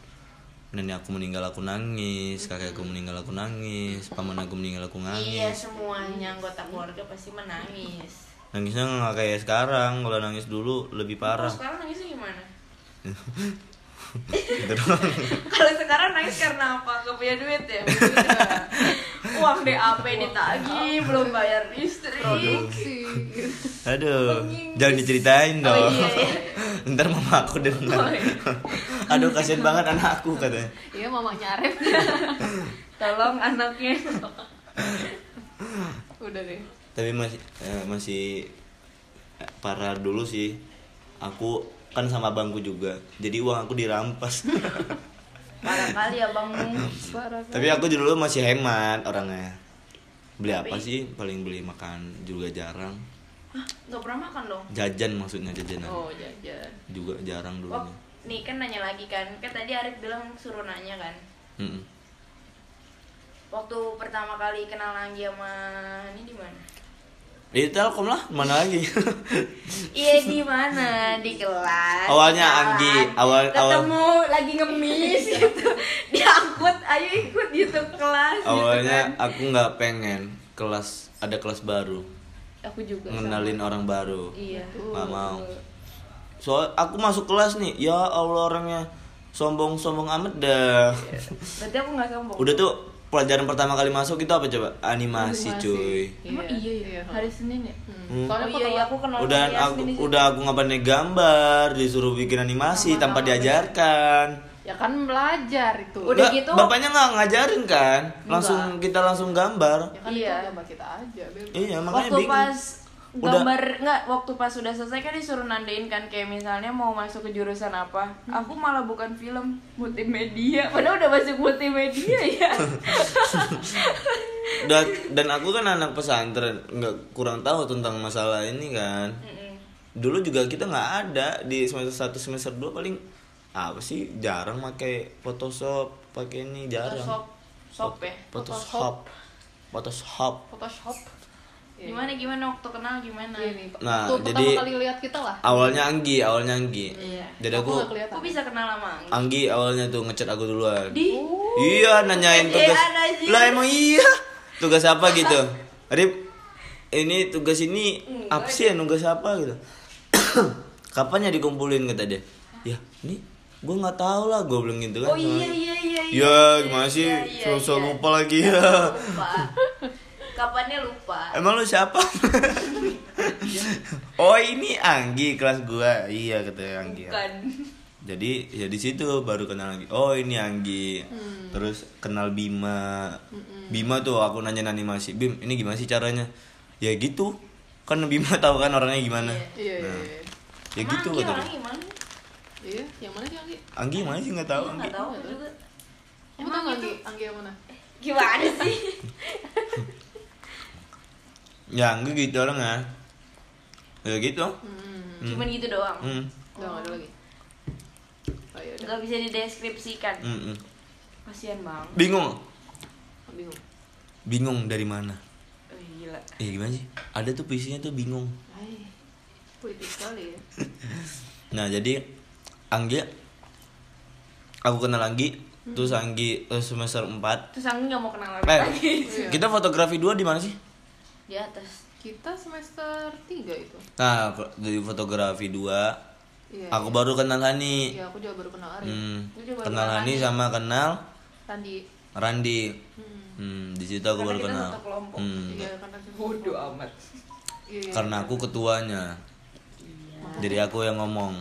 nenek aku meninggal aku nangis, kakekku meninggal aku nangis, paman aku meninggal aku
Iya,
Ya,
nangis.
semuanya anggota keluarga pasti menangis.
Nangisnya nggak kayak sekarang, kalau nangis dulu lebih parah.
Kalau sekarang nangisnya gimana?
Gitu doang.
Kalau sekarang nangis karena apa? Gak punya duit ya? Uang DAP ditagih, belum bayar listrik.
Produksi.
Aduh, jangan diceritain dong.
iya, Oh,
Ntar mama aku dengar. Aduh, kasihan banget anakku katanya.
Iya, mamanya Arif.
Tolong anaknya.
Udah deh.
Tapi masih eh, masih eh, parah dulu sih. Aku kan sama abangku juga. Jadi uang aku dirampas.
Parah kali ya bang.
Parah.
Tapi aku dulu masih hemat orangnya. Beli apa sih? Paling beli makan juga jarang.
Gak pernah makan dong.
Jajan maksudnya jajanan.
Oh, jajan.
Juga jarang dulu.
Wah, nih kan nanya lagi kan. Kan tadi Arif bilang suruh nanya kan.
Mm-mm.
Waktu pertama kali kenal Anggi sama ini di mana?
Di Iya, Telkom lah, mana lagi?
Iya di mana? Di kelas.
Awalnya
Jalan.
Anggi, awal- awal- Iya.
ketemu lagi ngemis gitu. Diangkut, ayo ikut gitu kelas
Awalnya
Iya
gitu kan.
aku nggak pengen kelas ada kelas baru,
kan.
Aku juga.
ngenalin orang baru.
Iya.
Nggak mau. Soal aku masuk kelas nih, ya Allah orangnya sombong-sombong amat dah.
Berarti aku gak sombong.
Udah tuh pelajaran pertama kali masuk itu apa coba? Animasi, cuy.
Emang iya ya?
Hari Senin ya?
Hmm.
Soalnya
Oh iya, iya, aku kenal
Udah
sama
aku
Yasmin di situ.
udah aku ngapain gambar, disuruh bikin animasi tanpa diajarkan.
Ya kan belajar itu.
Udah
Nggak,
gitu-
bapaknya nggak ngajarin kan? Langsung kita langsung gambar.
Ya kan
Iya.
itu gambar kita aja, Beb.
Iya, makanya
waktu
bingung.
pas
Udah.
gambar nggak waktu pas sudah selesai kan disuruh nandain kan kayak misalnya mau masuk ke jurusan apa aku malah bukan film multimedia padahal udah masuk multimedia ya
dan dan aku kan anak pesantren nggak kurang tahu tentang masalah ini kan dulu juga kita nggak ada di semester 1 semester 2 paling apa sih jarang pakai Photoshop pakai ini jarang
Photoshop shop ya
Photoshop Photoshop
Photoshop.
gimana gimana waktu kenal gimana
Iya nih.
Nah,
Tuh
jadi-
pertama kali lihat kita lah.
awalnya Anggi awalnya Anggi
Iya.
jadi
Aku
aku
nggak kelihatan.
aku bisa kenal lama
Anggi awalnya tuh ngechat aku duluan
di
Iya nanyain tugas
Iya, anjir.
Lah emang iya Tugas apa gitu Rip Ini tugas ini Apa sih ya tugas apa gitu Kapan ya dikumpulin kata dia Ya ini gue nggak tahu lah gue belum gitu kan
oh iya iya iya iya
Ya gimana sih
Iya, iya,
Susah
iya.
lupa lagi ya
lupa kapannya lupa
Emang lu siapa? oh ini Anggi kelas gua. Iya kata Anggi.
bukan
Jadi ya di situ baru kenal lagi. Oh ini Anggi.
Hmm.
Terus kenal Bima. Bima tuh aku nanya animasi. Bim ini gimana sih caranya? Ya gitu. Kan Bima tahu kan orangnya gimana.
Iya, iya,
Nah,
iya.
Ya
Emang
gitu kata
Anggi
dia.
orangnya gimana
Iya, yang mana sih Anggi?
Anggi mana sih nggak tahu Anggi.
Iya, nggak tahu aku juga
Emang tahu Anggi? Anggi yang mana?
gimana sih
Ya Anggi gitu orangnya. Ya gitu.
Hmm.
cuman gitu doang
Hmm.
Udah nggak ada lagi. Oh iya, udah.
nggak bisa dideskripsikan
Mm-mm.
kasihan bang
hmm, Bingung.
Bingung.
Bingung dari mana?
Eh, gila
Eh gimana sih? Ada tuh puisinya tuh bingung.
Hai. Puitis sekali ya.
Nah jadi Anggi aku kenal Anggi terus Anggi eh, semester 4
terus Anggi nggak mau
Eh,
kenal lagi
Iya.
kita fotografi dua di mana sih?
di atas
Kita semester 3 itu.
Nah, fo- dari fotografi dua
Iya.
aku baru kenal Hani.
Iya, aku juga baru kenal Arif.
Hmm,
Gua juga baru
kenal
kenal
Hani
Hani.
sama kenal
Randi.
Randi.
Hmm.
Hmm, di situ aku
Karena
baru
kita
kenal.
satu kelompok.
Hmm,
Iya, karena kita-
bodoh amat
Iya, iya.
karena aku ketuanya. Jadi aku yang ngomong.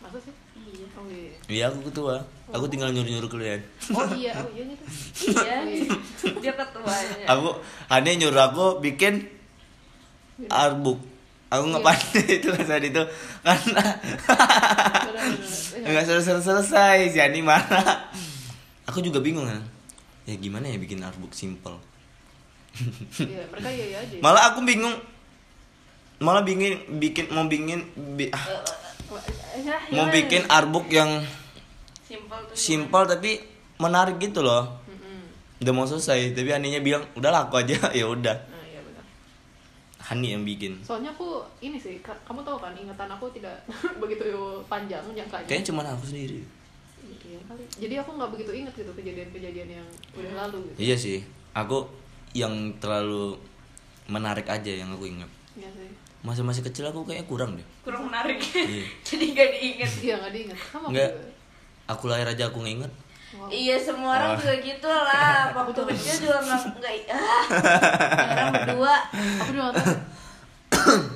Masa sih?
iya
Oh iya.
Iya aku ketua. Aku tinggal nyuruh-nyuruh kalian.
Oh iya, oh iya gitu.
iya dia ketuanya
Aku aneh nyuruh aku bikin arbuk. Aku nggak pandai itu kan saat itu karena
Benar-benar.
nggak selesai selesai si Ani marah. Aku juga bingung kan. Ya gimana ya bikin arbuk simple.
Iya, mereka iya iya aja. ya.
Malah aku bingung. Malah bingin bikin mau bingin bi- ah,
Ya,
mau
iya.
gimana?
bikin arbuk yang
simple tuh
simple tapi menarik gitu loh.
Mm-mm.
Udah mau selesai tapi Aninya bilang udahlah aku aja ya udah.
Nah, iya benar.
Hani yang bikin.
Soalnya aku ini sih, ka- kamu tahu kan ingatan aku tidak begitu panjang jangkanya.
Kayaknya cuma aku sendiri.
Iya kali. Jadi aku nggak begitu ingat gitu kejadian-kejadian yang udah lalu gitu.
Iya sih. Aku yang terlalu menarik aja yang aku ingat.
Iya sih.
Masa-masa kecil aku kayaknya kurang deh.
kurang menarik
Iya.
jadi gak diinget
Iya nggak diingat. Sama aku
Nggak.
juga.
Aku lahir aja aku Ah. nginget.
Wow.
Iya semua orang juga gitu lah Waktu kecil juga nggak nggak ah. Orang berdua
Aku juga nggak tahu.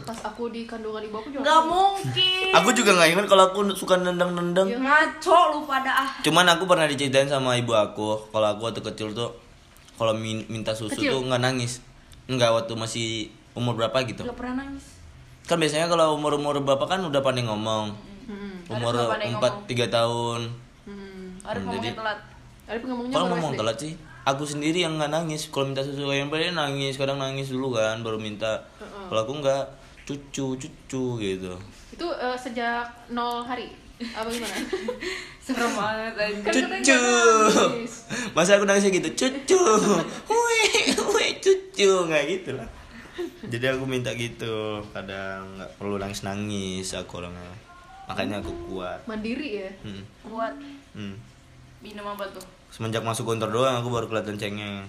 Pas aku di kandungan ibu aku juga
nggak
nggak tahu.
mungkin Iya,
Aku juga nggak inget kalau aku suka nendang-nendang.
Ngaco lu pada ah
Cuman aku pernah diceritain sama ibu aku kalau aku waktu kecil tuh kalau min- minta susu
Kecil.
tuh nggak nangis. Enggak waktu masih umur berapa gitu.
Gak pernah nangis
Kan biasanya kalau umur-umur berapa kan udah pandai ngomong.
Hmm.
Umur
nggak pandai
4 3 tahun.
Hmm.
Harus
Hmm,
ngomongnya
jadi-
telat
Ada pengomongnya
Kalau ngomong telat sih, aku sendiri yang nggak nangis. Kalau minta susu yang pada nangis, kadang nangis dulu kan, baru minta. Kalau aku nggak, cucu, cucu gitu.
Itu eh, sejak nol hari. Apa gimana?
Serem banget aja
Kan katanya
Cucu.
nggak nangis.
Masa aku nangisnya gitu, cucu, woi, woi, cucu, nggak gitu lah. Jadi aku minta gitu, kadang nggak perlu nangis nangis aku orangnya. Makanya aku kuat.
Mandiri ya.
Hmm.
Buat
Hmm.
minum apa tuh
Semenjak masuk kantor doang aku baru kelihatan cengeng.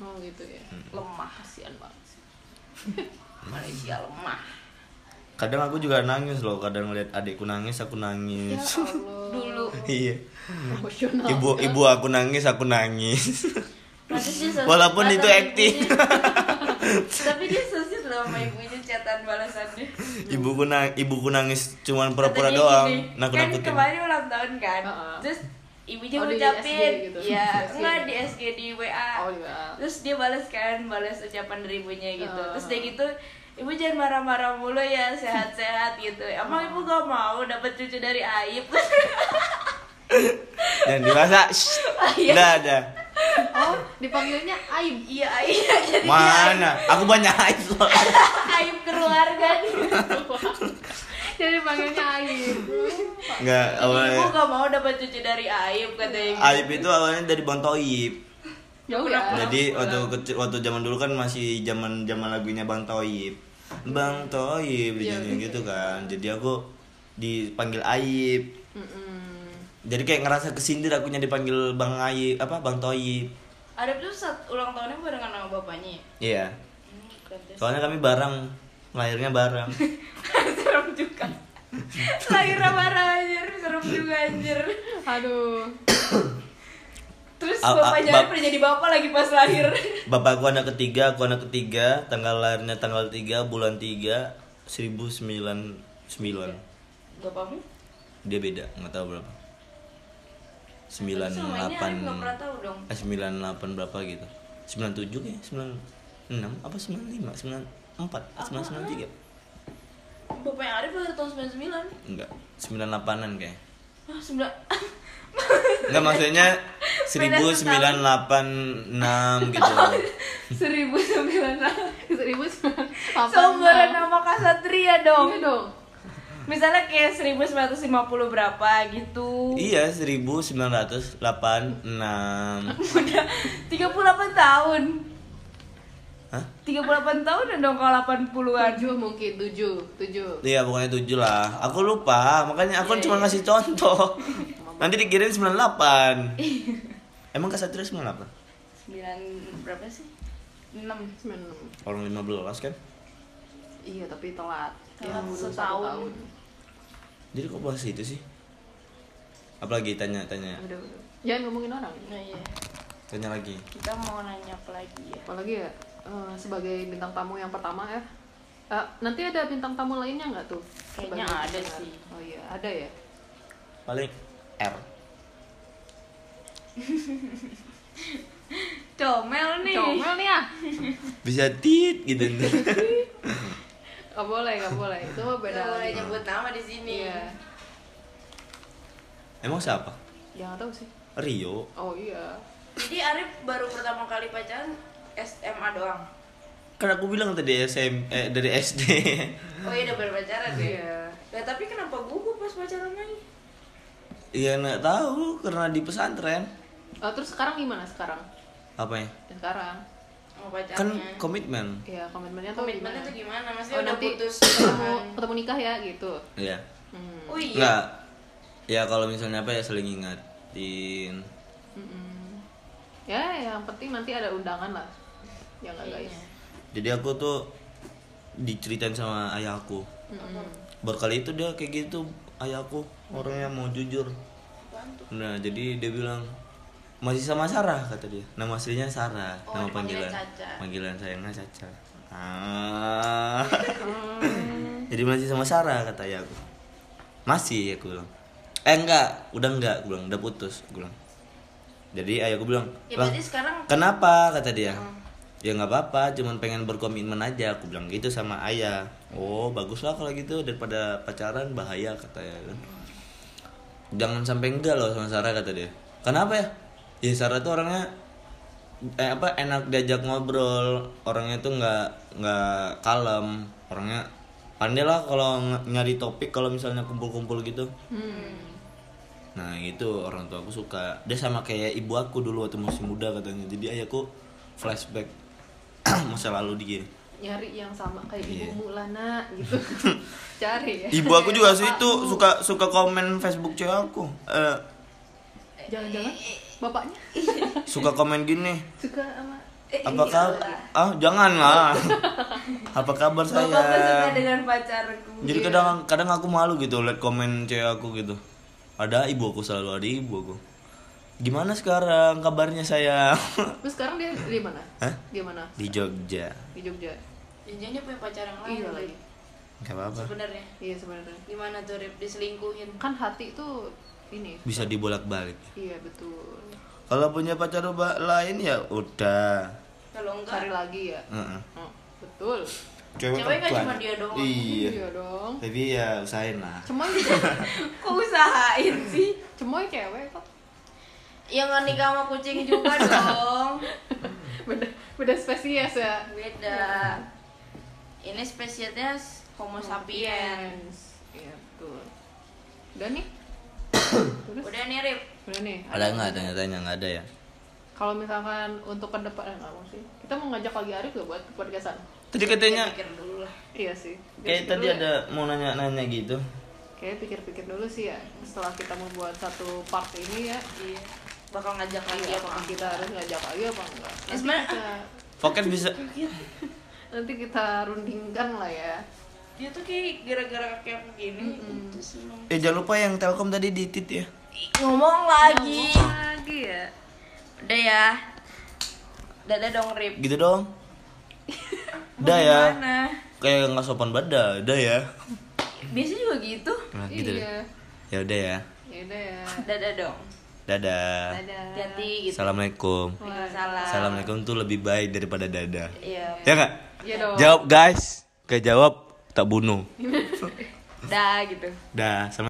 Oh gitu ya.
Hmm.
Lemah
Kasihan banget. sih.
Malaysia lemah
Kadang aku juga nangis loh, kadang ngeliat adikku nangis aku
Ya
nangis.
Allah.
Dulu
iya.
Emosional.
Oh,
Ibu
gitu.
ibu aku nangis, aku nangis.
Nanti dia sos-
Walaupun
chat
itu acting.
sama ibunya. Tapi dia sosis loh sama ibunya catatan balasannya
ibuku nang ibuku nangis cuman pura-pura
Katanya
doang.
gini,
Nakut
kan
nakutin.
kemarin ulang tahun kan
Heeh.
terus ibunya
Oh, di
ngucapin
SG gitu.
ya
Di SG.
enggak di SG di WA
Oh iya.
terus dia balas kan balas ucapan dari ibunya gitu
Heeh.
terus dia gitu ibu jangan marah-marah mulu ya sehat-sehat gitu emang ibu gak mau dapat cucu dari Aib
Dan dewasa. Udah ada.
Oh dipanggilnya Aib.
iya Aib jadi dia
Mana? Aku banyak aib loh.
Aib keluarga Iya,
Jadi dipanggilnya Aib.
Enggak,
jadi ibu
awalnya
gak mau dapat cucu dari Aib katanya gitu.
aib itu awalnya dari Bang Toib.
Jauh
Oh,
ya.
iya.
Jadi waktu kecil waktu zaman dulu kan masih zaman zaman lagunya Bang Toib. Bang Toib
Iya,
dinyanyi gitu kan. Jadi aku dipanggil Aib.
Mm-mm.
Jadi kayak ngerasa kesindir akunya dipanggil Bang Aib, apa Bang Toib.
Arif tuh saat ulang tahunnya barengan sama bapaknya ya?
Iya.
Hmm, keren.
Soalnya kami bareng, lahirnya bareng.
serem juga lahir marah anjir serem juga anjir
Aduh.
terus
Ah, ah,
bapaknya
bap-
Arif udah jadi bapak lagi pas lahir
Bapakku anak ketiga, aku anak ketiga, tanggal lahirnya tanggal 3, bulan 3,
Iya.
1099.
bapakmu
Dia beda, nggak tahu berapa.
Tapi selama ini Arif
98
nggak pernah tahu dong
eh, 98 berapa gitu. 97 ya, 96 apa 95, 94, 993.
Ah, bapaknya Arif lahir tahun 99
Enggak, 98-an kayak.
ah sembilan
Enggak maksudnya
Beda setahun.
1986 gitu.
seribu sembilan
Seribu sembilan.
Iya. seumuran nama Kasatria
Iya
dong
dong.
misalnya kayak 1950 berapa gitu
Iya, 1986.
38 tahun
Hah?
38 tahun ya dong kalau 80-an
Tujuh mungkin tujuh tujuh.
Iya pokoknya 7 lah Aku lupa Makanya aku cuma ngasih contoh Nanti dikirain 98 Emang Kak Satria 98?
9 berapa sih? 6
Sembilan enam.
Orang 15 kan?
Iya tapi telat. Ya,
Telat
udah satu
setahun.
tahun.
Jadi kok bahas itu sih? Apalagi tanya-tanya
Udah udah. Jangan ngomongin orang.
Nah iya,
Tanya lagi
kita mau nanya apa lagi ya?
Apalagi ya eh, sebagai bintang tamu yang pertama ya. Eh, nanti ada bintang tamu lainnya nggak tuh?
Kayaknya
Sebagai
ada
pendengar.
sih.
Oh iya ada ya.
paling R
Comel nih.
Comel nih ah.
bisa tit gitu
Gak boleh, gak boleh. Itu mah beda.
Nggak boleh
lagi.
nyebut nama di sini.
Iya.
emang siapa
Jangan Ya, tahu sih.
Rio
Oh iya.
Jadi Arif baru pertama kali pacaran SMA doang.
kan aku bilang tadi SM eh, dari SD
Oh iya udah baru pacaran ya.
Iya.
Nah, tapi kenapa gugup pas pacaran lagi?
ya nggak tahu karena di pesantren
Oh, terus sekarang gimana sekarang?
apa ya
Dan sekarang?
Mau pacarnya.
kan komitmen
Iya, komitmennya tuh
komitmennya
gimana?
tuh gimana? Maksudnya
Oh,
udah
nanti
putus
ketemu,
kan?
ketemu nikah ya gitu.
ya
Hmm.
Oh iya.
nggak ya kalau misalnya apa ya saling ingatin
Mm-mm. Ya, yang penting nanti ada undangan lah. Ya
Iya.
nggak guys.
jadi aku tuh diceritain sama ayahku
Mm-mm.
berkali itu dia kayak gitu ayahku orangnya mau jujur nah jadi dia bilang masih sama Sarah kata dia nama aslinya Sarah
Oh,
nama
dipanggilnya
panggilan
Caca.
panggilan sayangnya Caca ah jadi masih sama Sarah kata ayahku masih aku bilang eh enggak udah enggak aku bilang udah putus aku bilang jadi ayahku bilang
Ya
"Lah,
berarti sekarang
Kenapa kata dia? Ya nggak apa-apa, cuman pengen berkomitmen aja. Aku bilang gitu sama ayah. Oh baguslah kalau gitu daripada pacaran bahaya kata ya. Jangan sampai enggak loh sama Sarah kata dia. Kenapa ya? Ya Sarah tuh orangnya eh, apa enak diajak ngobrol. Orangnya tuh nggak nggak kalem. Orangnya pandai lah kalau ng- nyari topik kalau misalnya kumpul-kumpul gitu. Nah itu orang tua aku suka Dia sama kayak ibu aku dulu waktu masih muda katanya Jadi ayahku flashback masa lalu dia
Nyari yang sama kayak
Iya.
ibumu lah nak gitu. Cari ya.
Ibu aku juga sih itu suka suka komen Facebook cewek aku Eh,
Jangan-jangan bapaknya
Suka komen gini
suka sama
Eh,
Apa
iya
kabar? Ah jangan lah Apa kabar
Bapak bersuka
saya?
dengan pacarku.
Jadi kadang kadang aku malu gitu liat komen cewek aku gitu Ada ibu aku selalu ada ibu aku Gimana sekarang kabarnya saya?
Terus sekarang dia di mana?
Hah?
Di mana?
Di Jogja
Di Jogja.
Janjian dia punya pacar yang lain
Iya
Rip.
lagi.
Gak apa-apa
Sebenarnya
Iya sebenarnya.
gimana tuh Rip diselingkuhin?
Kan hati itu ini.
Bisa dibolak-balik
Iya betul.
Kalau punya pacar ba- lain ya udah.
Kalau enggak
Cari lagi ya.
Heeh.
Oh, betul.
Cewek nggak cuma dia doang.
Iya.
Iya dong.
Tapi ya usahain lah.
Cemoy
kok usahain sih?
cemoy cewek kok.
Ya nggak nikah sama kucing juga dong.
Beda beda spesies ya.
Beda. Ini spesiesnya Homo sapiens.
Iya betul. Udah nih. Terus
Udah nih Rip.
udah nih.
Ada nggak tanya-tanya nggak ada ya?
Kalau misalkan untuk ke depan eh, nggak mau sih. Kita mau ngajak lagi Arif gak buat podcastan?
Tadi katanya
Pikir dulu lah.
Iya sih.
kayak
gitu
Pikir
tadi
dulu ya.
ada mau nanya-nanya gitu.
Kayaknya pikir-pikir dulu sih ya. Setelah kita membuat satu part ini ya.
Iya. Bakal ngajak lagi
Iya,
apa
apakah kita harus ngajak lagi apa enggak?
Ya,
Nanti
sebenarnya-
kita,
Pocket bisa
nanti kita rundingkan lah ya.
Dia tuh kayak gara-gara kayak aku gini putus emang.
Eh jangan lupa yang Telkom tadi di tit ya.
Ih, Ngomong lagi.
Lagi ya.
Udah ya. Dadah dong Rip.
Gitu dong. Dah ya.
Gimana?
Kayak nggak sopan bada, dah ya.
Biasanya juga gitu.
Nah, gitu deh.
iya.
Ya udah ya.
Ya udah ya.
Dadah dong.
Dadah.
Dadah.
Ganti gitu.
Assalamualaikum.
Salam.
Assalamualaikum tuh lebih baik daripada dadah.
Iya.
Ya nggak?
Iya dong.
Jawab guys. Kejawab tak bunuh.
Dah gitu.
Dah. Sama